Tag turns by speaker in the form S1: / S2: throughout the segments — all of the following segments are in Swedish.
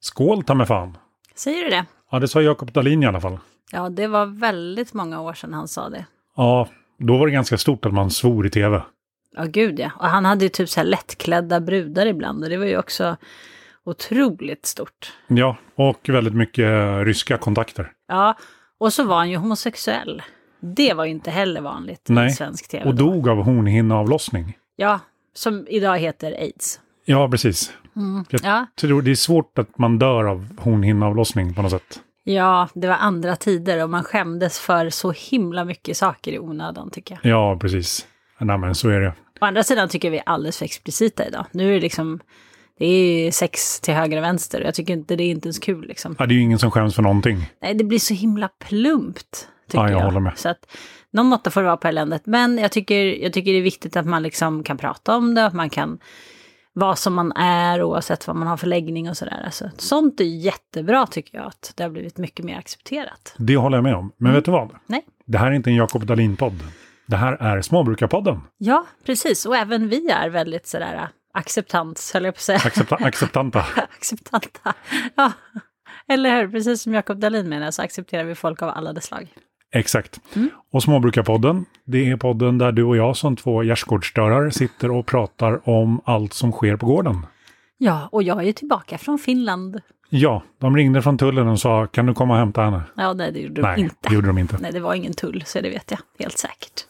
S1: Skål ta mig fan.
S2: Säger du det?
S1: Ja, det sa Jakob Dahlin i alla fall.
S2: Ja, det var väldigt många år sedan han sa det.
S1: Ja, då var det ganska stort att man svor i tv.
S2: Ja, gud ja. Och han hade ju typ så här lättklädda brudar ibland och det var ju också otroligt stort.
S1: Ja, och väldigt mycket eh, ryska kontakter.
S2: Ja, och så var han ju homosexuell. Det var ju inte heller vanligt
S1: Nej,
S2: i svensk tv.
S1: Och dog av hornhinneavlossning.
S2: Ja, som idag heter aids.
S1: Ja, precis. Jag
S2: Ja.
S1: tror det är svårt att man dör av hornhinneavlossning på något sätt.
S2: ja, det var andra tider och man skämdes för så himla mycket saker i onödan tycker jag.
S1: Ja, precis. Nej, men så är det.
S2: Å andra sidan tycker vi är alldeles för explicita idag. Nu är det liksom, det är ju sex till höger och vänster och jag tycker inte det är inte ens kul liksom.
S1: Ja, det är ju ingen som skäms för någonting.
S2: Nej, det blir så himla plumpt. Tycker
S1: Ja, jag
S2: jag
S1: håller med.
S2: Så att någon måtta får det vara på eländet. Men jag tycker, jag tycker det är viktigt att man liksom kan prata om det, att man kan vara som man är oavsett vad man har för läggning och sådär. Alltså, sånt är jättebra tycker jag, att det har blivit mycket mer accepterat.
S1: Det håller jag med om. Men vet du vad?
S2: Nej.
S1: Det här är inte en Jakob Dahlin-podd. Det här är Småbrukarpodden.
S2: Ja, precis. Och även vi är väldigt sådär äh, acceptans, höll jag på att säga.
S1: Accepta, acceptanta.
S2: Acceptanta. Ja. Eller hur? Precis som Jakob Dahlin menar så accepterar vi folk av alla dess slag.
S1: Exakt.
S2: Mm.
S1: Och Småbrukarpodden, det är podden där du och jag som två gärdsgårdsdörrar sitter och pratar om allt som sker på gården.
S2: Ja, och jag är ju tillbaka från Finland.
S1: Ja, de ringde från tullen och sa kan du komma och hämta henne?
S2: Ja, nej, det gjorde
S1: Nej,
S2: du inte.
S1: det gjorde de inte
S2: Nej, det var ingen tull, så det vet jag helt säkert.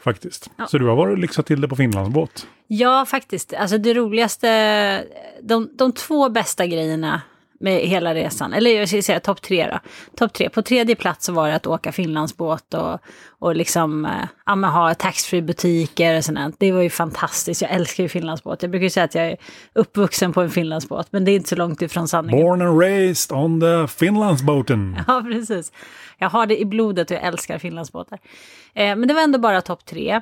S1: faktiskt. Så du har varit och lyxat till det på Finlandsbåt.
S2: Ja, faktiskt. Alltså det roligaste, de, de två bästa grejerna med hela resan, eller jag ska säga topp tre då. Topp tre. På tredje plats så var det att åka Finlandsbåt och, och liksom, eh, ja, men ha taxfree butiker och sånt. där. Det var ju fantastiskt. Jag älskar ju Finlandsbåt. Jag brukar ju säga att jag är uppvuxen på en Finlandsbåt, men det är inte så långt ifrån sanningen.
S1: Born and raised on the Finlandsbåten.
S2: Ja, precis. Jag har det i blodet och jag älskar Finlandsbåtar. Eh, men det var ändå bara topp tre.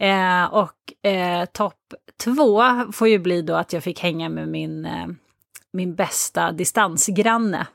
S2: Eh, och eh, topp två får ju bli då att jag fick hänga med min, eh, min bästa distansgranne.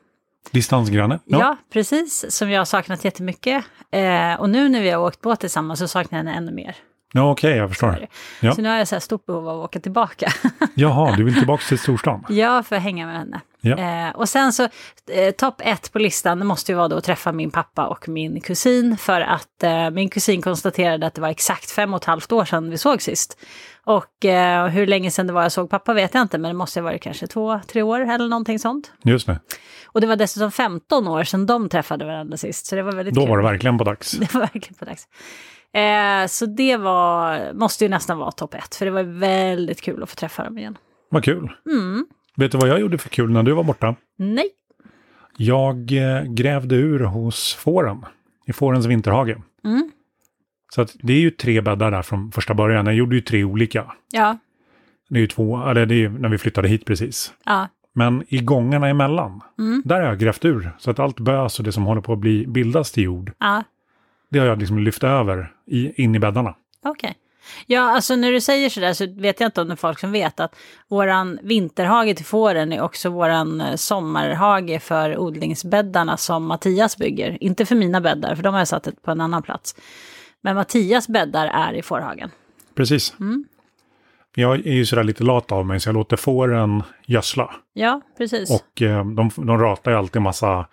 S1: Distansgranne.
S2: Ja. precis. Som jag har saknat jättemycket. Eh, och nu när vi har åkt båt tillsammans så saknar jag henne ännu mer.
S1: ja okej, jag förstår. Ja.
S2: Så nu har jag så här stort behov av att åka tillbaka.
S1: Jaha, du vill tillbaka till storstan?
S2: Ja, för att hänga med henne.
S1: Ja.
S2: Eh, och sen så, eh, topp ett på listan det måste ju vara då att träffa min pappa och min kusin. För att eh, min kusin konstaterade att det var exakt fem och ett halvt år sedan vi såg sist. Och eh, hur länge sedan det var jag såg pappa vet jag inte, men det måste ha varit kanske två, tre år eller någonting sånt.
S1: Just det.
S2: Och det var dessutom 15 år sedan de träffade varandra sist, så det var väldigt
S1: Då
S2: kul. Mm.
S1: var det verkligen på dags.
S2: Det var verkligen på dags. Eh, så det var, måste ju nästan vara topp ett, för det var väldigt kul att få träffa dem igen.
S1: Vad kul. Vet du vad jag gjorde för kul när du var borta?
S2: Nej,
S1: Jag eh, grävde ur hos fåren, i fårens vinterhage.
S2: Mm.
S1: Så att det är ju tre bäddar där från första början. Jag gjorde ju tre olika.
S2: ja,
S1: Det är ju två, eller det är ju när vi flyttade hit precis.
S2: ja.
S1: Men i gångarna emellan, där har jag grävt ur. Så att allt bös och det som håller på att bli, bildas till jord,
S2: Ja,
S1: det har jag liksom lyft över i, in i bäddarna.
S2: okej. Ja, alltså när du säger sådär så vet jag inte om det är folk som vet att våran vinterhage till fåren är också våran eh, sommarhage för odlingsbäddarna som Mattias bygger. Inte för mina bäddar, för de har jag satt på en annan plats. Men Mattias bäddar är i fårhagen.
S1: Precis. Jag är ju sådär lite lat av mig så jag låter fåren gödsla.
S2: Ja, precis.
S1: Och eh, de, de ratar ju alltid massa,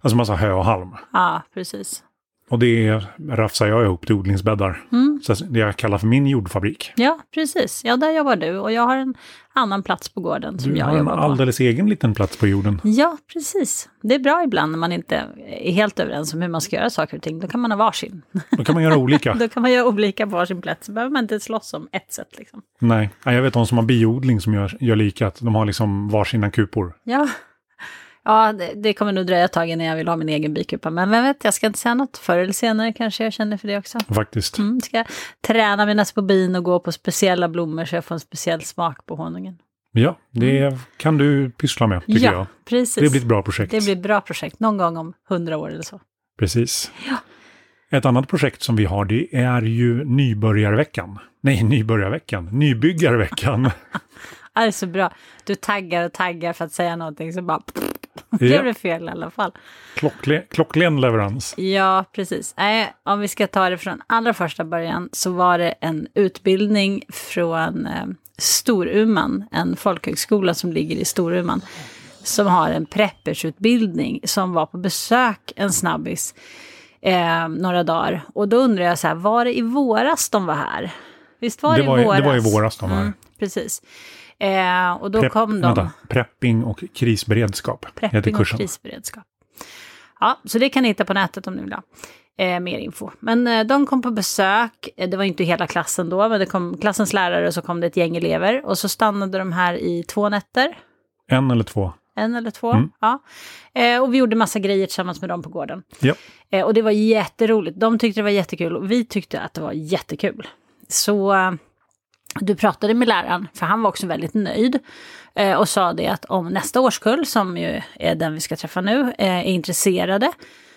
S1: alltså massa hö och halm.
S2: Ja, precis.
S1: Och det rafsar jag ihop till odlingsbäddar.
S2: Mm.
S1: Så det jag kallar för min jordfabrik.
S2: Ja, precis. Ja, där jobbar du och jag har en annan plats på gården som
S1: Du
S2: jag
S1: har en
S2: jobbar på.
S1: alldeles egen liten plats på jorden.
S2: Ja, precis. Det är bra ibland när man inte är helt överens om hur man ska göra saker och ting. Då kan man ha varsin.
S1: Då kan man göra olika.
S2: Då kan man göra olika på varsin plats. Så behöver man inte slåss om ett sätt liksom.
S1: Nej, Nej, jag vet de som har biodling som gör, gör lika. Att de har liksom varsina kupor.
S2: Ja, ja det, det kommer nog dröja ett tag innan jag vill ha min egen bikupa. Men vem vet, jag ska inte säga något. Förr eller senare kanske jag känner för det också.
S1: Faktiskt.
S2: Mm, ska jag träna mina små bin och gå på speciella blommor så jag får en speciell smak på honungen.
S1: Ja, det kan du pyssla med, tycker
S2: Mm. ja,
S1: jag.
S2: precis.
S1: Det blir ett bra projekt.
S2: Det blir ett bra projekt. Någon gång om hundra år eller så.
S1: Precis. Ett annat projekt som vi har, det är ju nybörjarveckan. Nej, nybörjarveckan. Nybyggarveckan.
S2: Ja, Det är så bra. Du taggar och taggar för att säga någonting så bara... Det
S1: Ja.
S2: blev fel i alla fall.
S1: Klockle, klocklen leverans.
S2: Ja, precis. Nej, om vi ska ta det från allra första början så var det en utbildning från eh, Storuman, en folkhögskola som ligger i Storuman, som har en preppersutbildning som var på besök en snabbis eh, några dagar. Och då undrar jag så här, var det i våras de var här? Visst var det,
S1: det, var,
S2: i
S1: i-
S2: våras?
S1: det var i våras de var här.
S2: Mm, precis. Eh, och då
S1: Prepp-
S2: kom de.
S1: vänta, prepping och krisberedskap heter
S2: Prepping och
S1: kursen.
S2: krisberedskap. Ja, så det kan ni hitta på nätet om ni vill ha eh, mer info. Men eh, de kom på besök, eh, det var inte hela klassen då, men det kom klassens lärare och så kom det ett gäng elever. Och så stannade de här i två nätter,
S1: En eller två.
S2: en eller två.
S1: Mm.
S2: Ja. Eh, och vi gjorde massa grejer tillsammans med dem på gården.
S1: Ja.
S2: Eh, och det var jätteroligt. De tyckte det var jättekul och vi tyckte att det var jättekul. Så eh, du pratade med läraren, för han var också väldigt nöjd. eh, Och sa det att om nästa årskull, som ju är den vi ska träffa nu, eh, är intresserade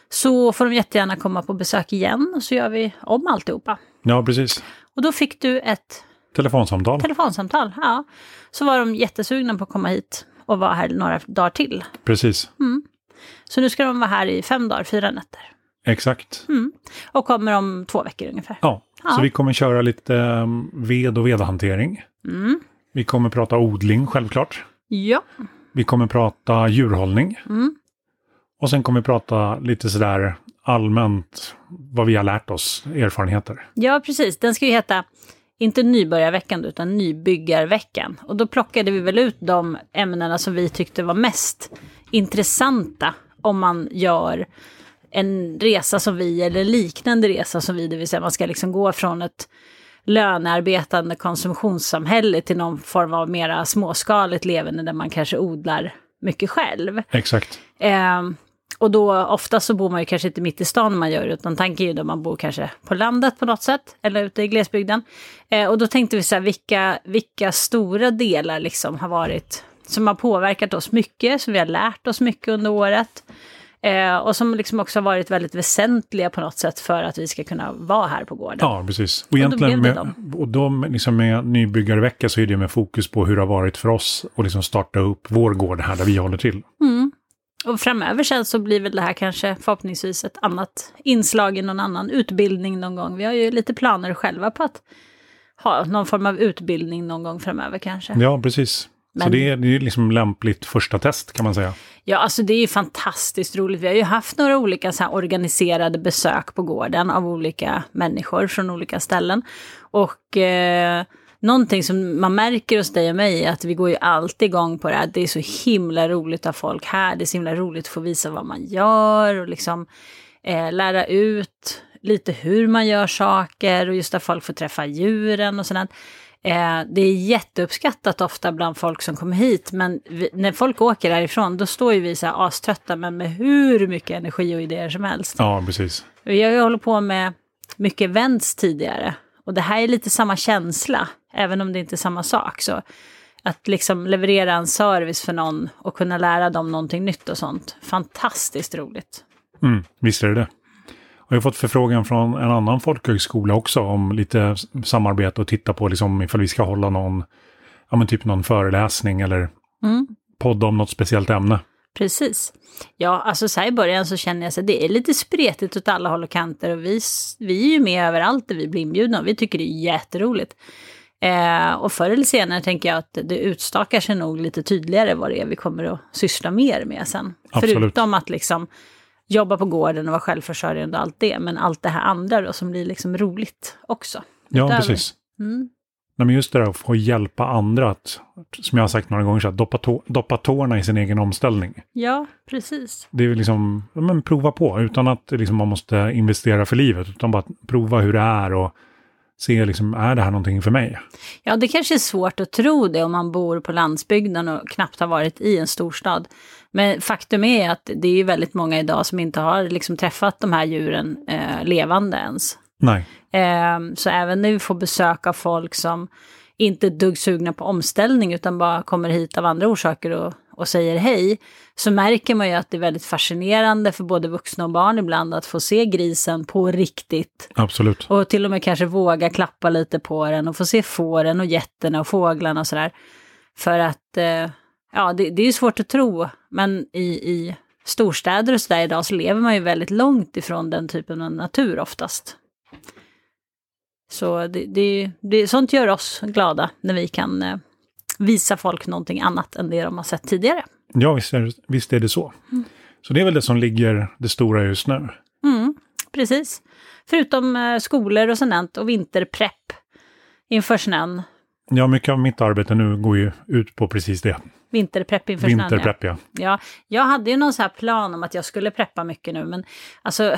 S2: så får de jättegärna komma på besök igen och så gör vi om alltihopa.
S1: ja, precis.
S2: Och då fick du ett
S1: Telefonsamtal.
S2: telefonsamtal. Ja. Så var de jättesugna på att komma hit och vara här några dagar till.
S1: precis.
S2: Så nu ska de vara här i fem dagar, fyra nätter.
S1: Exakt.
S2: Och kommer om två veckor ungefär.
S1: Ja.
S2: Mm. Ja.
S1: Så vi kommer köra lite eh, ved och vedhantering.
S2: Mm.
S1: Vi kommer prata odling, självklart.
S2: Ja.
S1: Vi kommer prata djurhållning.
S2: Mm.
S1: Och sen kommer vi prata lite sådär allmänt vad vi har lärt oss, erfarenheter.
S2: Ja, precis. Den ska ju heta, inte nybörjarveckan utan nybyggarveckan. Och då plockade vi väl ut de ämnena som vi tyckte var mest intressanta om man gör en resa som vi, eller liknande resa som vi, det vill säga man ska liksom gå från ett lönearbetande konsumtionssamhälle till någon form av mera småskaligt levande där man kanske odlar mycket själv.
S1: Exakt.
S2: Ehm, och då ofta så bor man ju kanske inte mitt i stan när man gör det, utan tanken är ju då man bor kanske på landet på något sätt, eller ute i glesbygden. Eh, och då tänkte vi så här, vilka, vilka stora delar liksom har varit, som har påverkat oss mycket, som vi har lärt oss mycket under året. Eh, och som liksom också har varit väldigt väsentliga på något sätt för att vi ska kunna vara här på gården.
S1: Ja, precis. Och,
S2: blev
S1: egentligen
S2: det
S1: med, och de liksom med nybyggarvecka så är det med fokus på hur det har varit för oss och liksom starta upp vår gård här där vi håller till.
S2: Och framöver sen så blir väl det här kanske förhoppningsvis ett annat inslag i någon annan utbildning någon gång. Vi har ju lite planer själva på att ha någon form av utbildning någon gång framöver kanske.
S1: Ja, precis. Så
S2: Men-
S1: det är, det är liksom lämpligt första test kan man säga.
S2: Ja, alltså det är ju fantastiskt roligt. Vi har ju haft några olika så här organiserade besök på gården av olika människor från olika ställen. Och eh, någonting som man märker hos dig och mig är att vi går ju alltid igång på det här. Det är så himla roligt att ha folk här. Det är så himla roligt att få visa vad man gör och liksom eh, lära ut lite hur man gör saker och just att folk får träffa djuren och sådant. Eh, det är jätteuppskattat ofta bland folk som kommer hit, men vi, när folk åker därifrån då står ju vi så här aströtta, men med hur mycket energi och idéer som helst.
S1: Ja, precis.
S2: Vi har ju hållit på med mycket events tidigare och det här är lite samma känsla, även om det inte är samma sak. Så att liksom leverera en service för någon och kunna lära dem någonting nytt och sånt. Fantastiskt roligt.
S1: Mm, visst är det det. Och jag har fått förfrågan från en annan folkhögskola också om lite s- samarbete och titta på liksom ifall vi ska hålla någon, ja men typ någon föreläsning eller
S2: Mm.
S1: podda om något speciellt ämne.
S2: Precis. Ja, alltså så här i början så känner jag så här, det är lite spretigt åt alla håll och kanter och vi, s- vi är ju med överallt där vi blir inbjudna och vi tycker det är jätteroligt. Eh, och förr eller senare tänker jag att det utstakar sig nog lite tydligare vad det är vi kommer att syssla mer med sen.
S1: Absolut.
S2: Förutom att liksom jobba på gården och vara självförsörjande och allt det, men allt det här andra då som blir liksom roligt också.
S1: Ja,
S2: Utöver-
S1: precis.
S2: Mm.
S1: Nej, men just det där att få hjälpa andra att, som jag har sagt några gånger, så att doppa, tå, doppa tårna i sin egen omställning.
S2: Ja, precis.
S1: Det är väl liksom, ja, men prova på utan att det liksom, man måste investera för livet, utan bara att prova hur det är och se liksom, är det här någonting för mig?
S2: Ja, det kanske är svårt att tro det om man bor på landsbygden och knappt har varit i en storstad. Men faktum är att det är ju väldigt många idag som inte har liksom träffat de här djuren eh, levande ens.
S1: Nej,
S2: Ehm, så även när vi får besök av folk som inte är ett dugg sugna på omställning utan bara kommer hit av andra orsaker och, och säger hej, så märker man ju att det är väldigt fascinerande för både vuxna och barn ibland att få se grisen på riktigt.
S1: absolut.
S2: Och till och med kanske våga klappa lite på den och få se fåren och getterna och fåglarna och sådär. För att, eh, ja det, det är ju svårt att tro, men i, i storstäder och sådär idag så lever man ju väldigt långt ifrån den typen av natur oftast. Så det, det, det, sånt gör oss glada när vi kan eh, visa folk någonting annat än det de har sett tidigare.
S1: Ja, visst är, visst är det så. Så det är väl det som ligger det stora just nu.
S2: Mm, precis. Förutom eh, skolor och sånt och vinterprepp inför snön.
S1: Ja, mycket av mitt arbete nu går ju ut på precis det.
S2: Vinterprepp inför snön. ja.
S1: Vinterprepp, ja.
S2: Ja, jag hade ju någon så här plan om att jag skulle preppa mycket nu, men alltså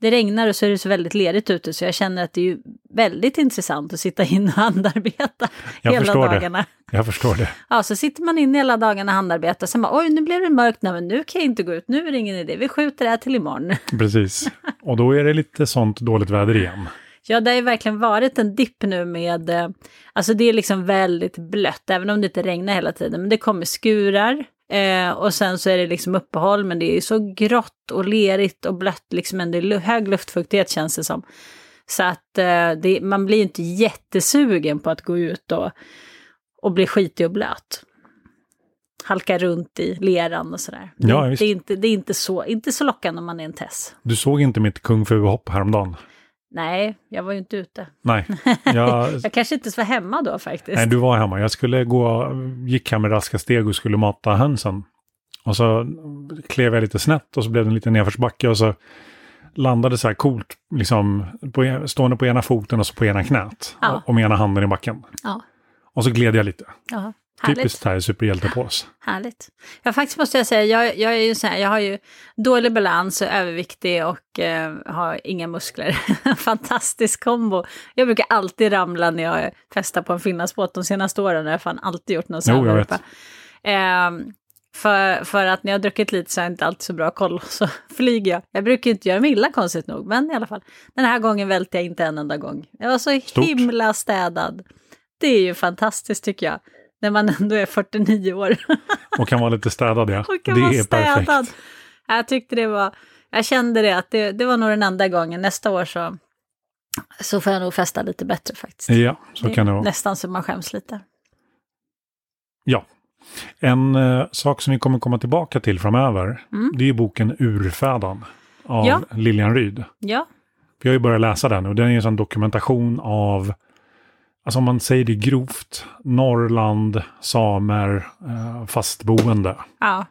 S2: det regnar och så är det så väldigt ledigt ute, så jag känner att det är ju väldigt intressant att sitta in och handarbeta
S1: Jag
S2: hela
S1: förstår det.
S2: dagarna.
S1: Jag förstår det.
S2: Ja, så sitter man inne hela dagarna och handarbetar, sen bara oj, nu blev det mörkt, nej men nu kan jag inte gå ut, nu är det ingen idé, vi skjuter det här till imorgon.
S1: Precis. Och då är det lite sånt dåligt väder igen.
S2: Ja, det har ju verkligen varit en dipp nu med, eh, alltså det är liksom väldigt blött, även om det inte regnar hela tiden, men det kommer skurar. Eh, och sen så är det liksom uppehåll, men det är ju så grått och lerigt och blött, liksom ändå lu- hög luftfuktighet känns det som. Så att eh, det, man blir ju inte jättesugen på att gå ut och, och bli skitig och blöt. Halka runt i leran och sådär.
S1: Ja,
S2: det,
S1: visst.
S2: det är, inte, det är inte, så, inte så lockande om man är en Tess.
S1: Du såg inte mitt kung fu-hopp häromdagen?
S2: Nej, jag var ju inte ute.
S1: Nej. Jag,
S2: Jag kanske inte ens var hemma då faktiskt.
S1: nej, du var hemma. Jag skulle gå, gick hem med raska steg och skulle mata hönsen. Och så klev jag lite snett och så blev det en liten nedförsbacke och så landade så här coolt, liksom, på, en- stående på ena foten och så på ena knät.
S2: Ja.
S1: Och, och med ena handen i backen.
S2: Ja,
S1: Och så gled jag lite.
S2: ja. Härligt.
S1: Typiskt här, superhjältepås.
S2: Härligt. Ja, faktiskt måste jag säga, jag, jag, är ju så här, jag har ju dålig balans, är överviktig och eh, har inga muskler. Fantastisk kombo. Jag brukar alltid ramla när jag festar på en finlandsbåt. De senaste åren har jag fan alltid gjort någon sån
S1: Jo, jag vet.
S2: Ehm, för, för att när jag har druckit lite så har jag inte alltid så bra koll, så flyger jag. Jag brukar ju inte göra mig illa konstigt nog, men i alla fall. Den här gången välte jag inte en enda gång. Jag var så
S1: Stort.
S2: himla städad. Det är ju fantastiskt tycker jag, när man ändå är 49 år
S1: Och kan vara lite städad, ja.
S2: och
S1: det
S2: kan vara
S1: är perfekt.
S2: städad. Jag tyckte det var, jag kände det att det, det var nog den enda gången. Nästa år så, så får jag nog festa lite bättre faktiskt.
S1: Ja, så kan det vara.
S2: Nästan så man skäms lite.
S1: Ja. En eh, sak som vi kommer komma tillbaka till framöver,
S2: Mm.
S1: det är ju boken Urfädan av
S2: Ja.
S1: Lilian Ryd.
S2: Ja,
S1: Vi har ju börjat läsa den och den är ju en sån dokumentation av, alltså om man säger det grovt, Norrland, samer, eh, fastboende.
S2: ja,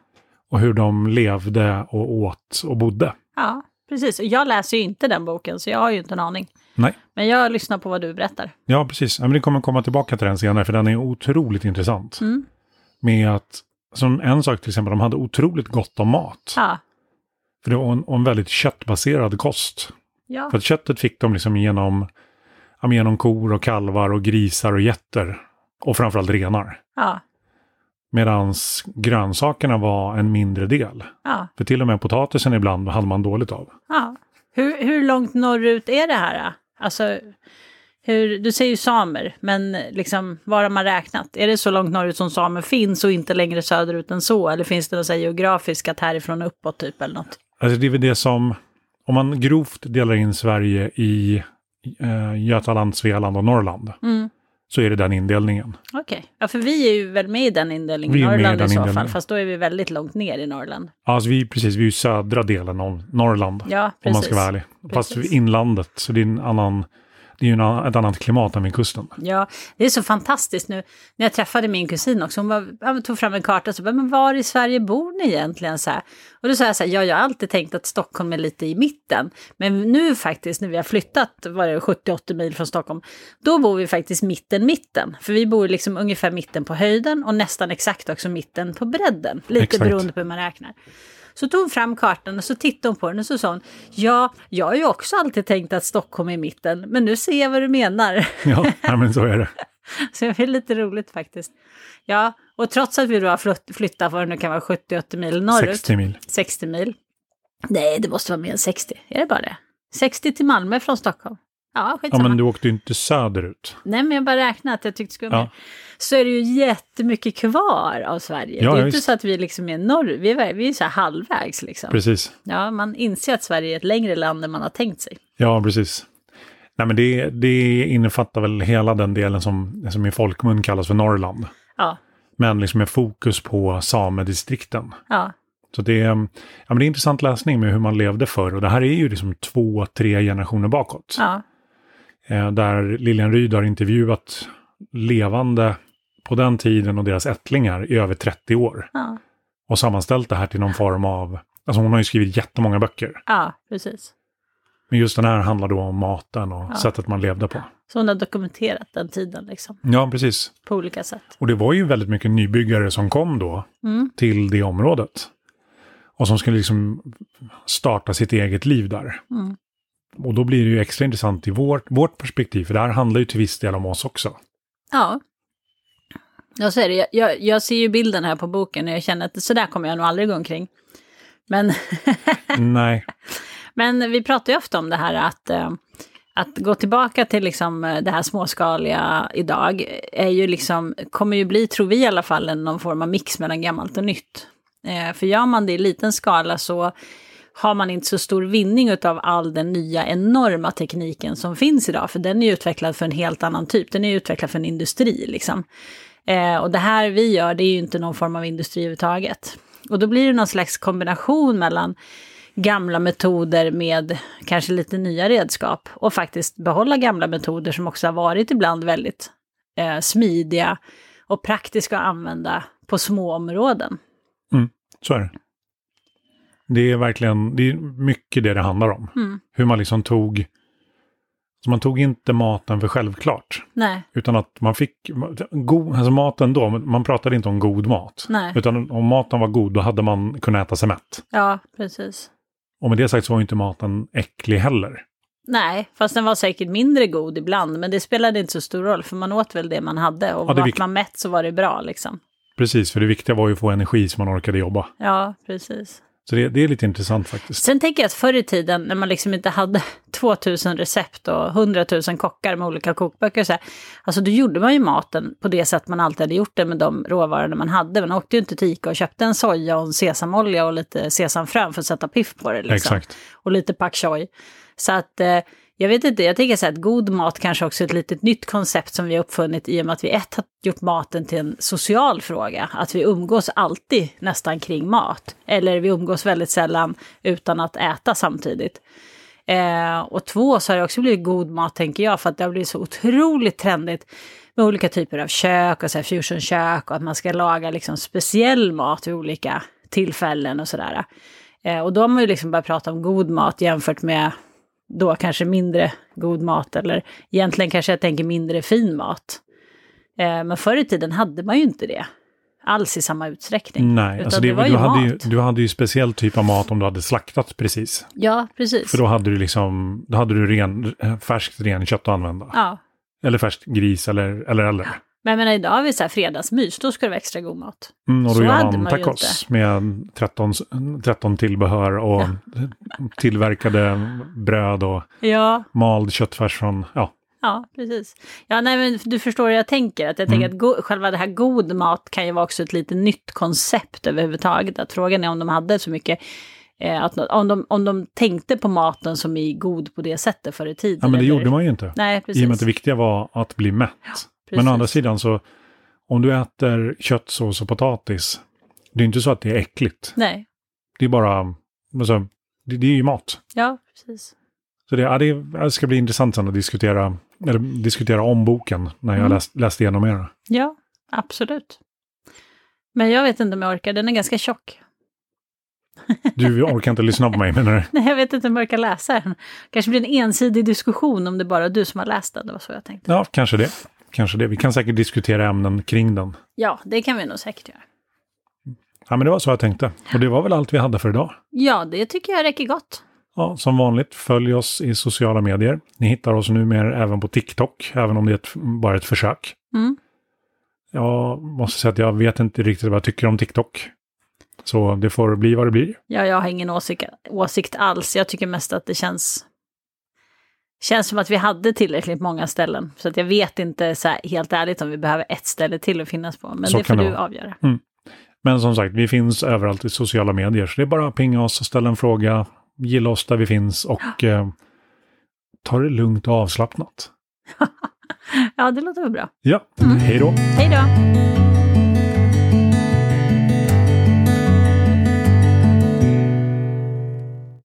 S1: Och hur de levde och åt och bodde.
S2: ja, precis. Och Jag läser ju inte den boken så jag har ju inte en aning.
S1: Nej.
S2: Men jag lyssnar på vad du berättar.
S1: Ja, precis. Ja, Men vi kommer komma tillbaka till den senare, för den är otroligt intressant.
S2: Mm.
S1: Med att, som en sak till exempel, de hade otroligt gott om mat.
S2: Ja,
S1: För det var en, och en väldigt köttbaserad kost.
S2: ja,
S1: För att köttet fick de liksom genom, ja, men genom kor och kalvar och grisar och getter. Och framförallt renar.
S2: ja,
S1: Medan grönsakerna var en mindre del.
S2: ja.
S1: För till och med potatisen ibland hade man dåligt av.
S2: ja. Hur, hur långt norrut är det här? då? Alltså, hur, du säger ju samer, men liksom, var har man räknat? Är det så långt norrut som samer finns och inte längre söderut än så? Eller finns det något så här geografiskt att härifrån och uppåt typ eller något?
S1: Alltså det är väl det som, om man grovt delar in Sverige i eh, Götaland, Svealand och Norrland.
S2: Mm.
S1: Så är det den indelningen.
S2: Okej, ja, för vi är ju väl med i den indelningen,
S1: Vi är med i
S2: Norrland i
S1: den
S2: så fall,
S1: indelningen.
S2: fast då är vi väldigt långt ner i Norrland.
S1: Alltså vi, precis, vi är ju södra delen av Norrland.
S2: Ja, precis.
S1: om man ska vara ärlig. Fast
S2: Precis.
S1: inlandet, så det är, en annan, det är ju en, annan- ett annat klimat än vid kusten.
S2: Ja, det är så fantastiskt nu. När jag träffade min kusin också, hon var, ja, men tog fram en karta och så bara, men var i Sverige bor ni egentligen? Så här. Och då sa jag så här, ja, jag har alltid tänkt att Stockholm är lite i mitten. Men nu faktiskt, när vi har flyttat, var det 70-80 mil från Stockholm, då bor vi faktiskt mitten, mitten. För vi bor liksom ungefär mitten på höjden och nästan exakt också mitten på bredden. Lite
S1: Exakt.
S2: beroende på hur man räknar. Så tog hon fram kartan och så tittade hon på den och så sa hon, ja, jag har ju också alltid tänkt att Stockholm är mitten, men nu ser jag vad du menar.
S1: Ja, nej, men så är det.
S2: Så det är lite roligt faktiskt. Ja, och trots att vi då har flytt- flyttat, vad det nu kan vara, 70-80 mil norrut. 60.
S1: 60 mil.
S2: mil. Nej, det måste vara mer än 60. Är det bara det? 60 till Malmö från Stockholm. Ja,
S1: Ja,
S2: skitsamma.
S1: men du åkte ju inte söderut.
S2: Nej, men jag bara räknat att jag tyckte det skulle vara
S1: Ja.
S2: mer. Så är det ju jättemycket kvar av Sverige.
S1: Ja,
S2: det är
S1: ja,
S2: inte
S1: visst.
S2: så att vi liksom är norr, vi är, ver- vi är så här halvvägs liksom.
S1: Precis.
S2: Ja, man inser att Sverige är ett längre land än man har tänkt sig.
S1: Ja, precis. Nej, men det, det innefattar väl hela den delen som, som i folkmun kallas för Norrland.
S2: Ja,
S1: Men liksom med fokus på samedistrikten.
S2: ja,
S1: Så det är, ja, men det är intressant läsning med hur man levde förr. Och det här är ju liksom två, tre generationer bakåt.
S2: ja,
S1: Eh, där Lilian Ryd har intervjuat levande på den tiden och deras ättlingar i över 30 år.
S2: ja,
S1: Och och sammanställt det här till någon form av... Alltså hon har ju skrivit jättemånga böcker.
S2: Ja, precis.
S1: Men just den här handlar då om maten och
S2: Ja.
S1: sättet man levde på.
S2: Så hon har dokumenterat den tiden liksom,
S1: Ja, precis.
S2: på olika sätt.
S1: Och det var ju väldigt mycket nybyggare som kom då
S2: Mm.
S1: till det området. Och som skulle liksom starta sitt eget liv där.
S2: Mm.
S1: Och då blir det ju extra intressant i vårt, vårt perspektiv, för det här handlar ju till viss del om oss också.
S2: Ja. Ja, så är det. Jag, jag, jag ser ju bilden här på boken och jag känner att så där kommer jag nog aldrig gå omkring. Men,
S1: Nej,
S2: men vi pratar ju ofta om det här att, eh, att gå tillbaka till liksom eh, det här småskaliga idag är ju liksom, kommer ju bli, tror vi i alla fall, en- någon form av mix mellan gammalt och nytt. Eh, För gör man det i liten skala så har man inte så stor vinning av all den nya enorma tekniken som finns idag, för den är ju utvecklad för en helt annan typ, den är ju utvecklad för en industri liksom. Eh, och det här vi gör, det är ju inte någon form av industri överhuvudtaget. Och då blir det någon slags kombination mellan gamla metoder med kanske lite nya redskap och faktiskt behålla gamla metoder som också har varit ibland väldigt eh, smidiga och praktiska att använda på små områden.
S1: så är det. Det är verkligen, det är mycket det det handlar om.
S2: Mm.
S1: Hur man liksom tog, så man tog inte maten för självklart.
S2: Nej,
S1: Utan att man fick, god, alltså maten då, man pratade inte om god mat.
S2: nej,
S1: Utan om maten var god, då hade man kunnat äta sig mätt.
S2: ja precis.
S1: Och med det sagt så var ju inte maten äcklig heller.
S2: Nej, fast den var säkert mindre god ibland, men det spelade inte så stor roll, för man åt väl det man hade och
S1: Ja, det är
S2: vart
S1: vikt-
S2: man mätt så var det bra liksom.
S1: Precis, för det viktiga var ju att få energi så man orkade jobba.
S2: Ja, precis.
S1: Så det, det är lite intressant faktiskt.
S2: Sen tänker jag att förr i tiden när man liksom inte hade 2000 recept och 100 000 kockar med olika kokböcker och så här, alltså då gjorde man ju maten på det sätt man alltid hade gjort det med de råvarorna man hade. Man åkte ju inte till Ica och köpte en soja och en sesamolja och lite sesamfrön för att sätta piff på det. Liksom.
S1: Exakt.
S2: Och lite pak choi. Så att eh, jag vet inte, jag tänker så här att god mat kanske också är ett litet nytt koncept som vi har uppfunnit i och med att vi ett har gjort maten till en social fråga. Att vi umgås alltid nästan kring mat. Eller vi umgås väldigt sällan utan att äta samtidigt. Eh, och två så har det också blivit god mat tänker jag för att det har blivit så otroligt trendigt med olika typer av kök och så här fusionkök och att man ska laga liksom speciell mat vid olika tillfällen och sådär. Eh, och då har man ju liksom börjat prata om god mat jämfört med då kanske mindre god mat eller egentligen kanske jag tänker mindre fin mat. Eh, men förr i tiden hade man ju inte det alls i samma utsträckning.
S1: Nej,
S2: Utan
S1: alltså det,
S2: det var ju
S1: du, hade ju,
S2: mat.
S1: du hade ju speciell typ av mat om du hade slaktat precis.
S2: Ja, precis.
S1: För då hade du liksom, då hade du ren, eh, färskt renkött att använda.
S2: Ja.
S1: Eller färskt gris eller eller. eller.
S2: Men jag menar, idag har vi så här fredagsmys, då ska det vara extra god mat.
S1: Mm, och
S2: Så
S1: då gör
S2: hade
S1: man
S2: man ju
S1: tacos med 13, 13 tillbehör och tillverkade bröd och
S2: Ja,
S1: mald köttfärs från, ja,
S2: ja precis. Ja, nej, men du förstår hur jag tänker. Att jag tänker
S1: Mm.
S2: att go- själva det här god mat kan ju vara också ett lite nytt koncept överhuvudtaget. Att frågan är om de hade så mycket, eh, att, nå- om, de, om de tänkte på maten som är god på det sättet förr i tiden.
S1: ja men det
S2: eller-
S1: gjorde man ju inte.
S2: Nej,
S1: I och med att
S2: precis.
S1: det viktiga var att bli mätt. men å andra
S2: precis.
S1: sidan så, om du äter köttsås och potatis, det är inte så att det är äckligt.
S2: Nej,
S1: Det är bara, alltså, det, det är ju mat.
S2: ja, precis.
S1: Så det, ja, det det ska bli intressant sen att diskutera, eller diskutera om boken när jag
S2: Mm.
S1: läst, läste igenom era.
S2: Ja, absolut. Men jag vet inte om jag orkar, den är ganska tjock.
S1: Du orkar inte lyssna på mig menar du?
S2: Nej, jag vet inte om jag orkar läsa den. kanske blir en ensidig diskussion om det bara är du som har läst den, det var så jag tänkte.
S1: Ja, kanske det. Kanske det. Vi kan säkert diskutera ämnen kring den.
S2: Ja, det kan vi nog säkert göra.
S1: Ja, men det var så jag tänkte. Och det var väl allt vi hade för idag.
S2: Ja, det tycker jag räcker gott.
S1: Ja, som vanligt, följ oss i sociala medier. Ni hittar oss numera även på TikTok, även om det är ett, bara ett försök.
S2: Mm.
S1: Jag måste säga att jag vet inte riktigt vad jag tycker om TikTok. Så det får bli vad det blir.
S2: Ja, jag har ingen åsikt, åsikt alls. Jag tycker mest att det känns... Känns som att vi hade tillräckligt många ställen. Så att jag vet inte så här, helt ärligt om vi behöver ett ställe till att finnas på. Men
S1: Så
S2: det får
S1: kan det
S2: du
S1: vara.
S2: avgöra.
S1: Men som sagt, vi finns överallt i sociala medier. Så det är bara att pinga oss, ställa en fråga, gilla oss där vi finns och eh, ta det lugnt och avslappnat.
S2: Ja, det låter väl bra.
S1: Ja, hej då!
S2: Hej då!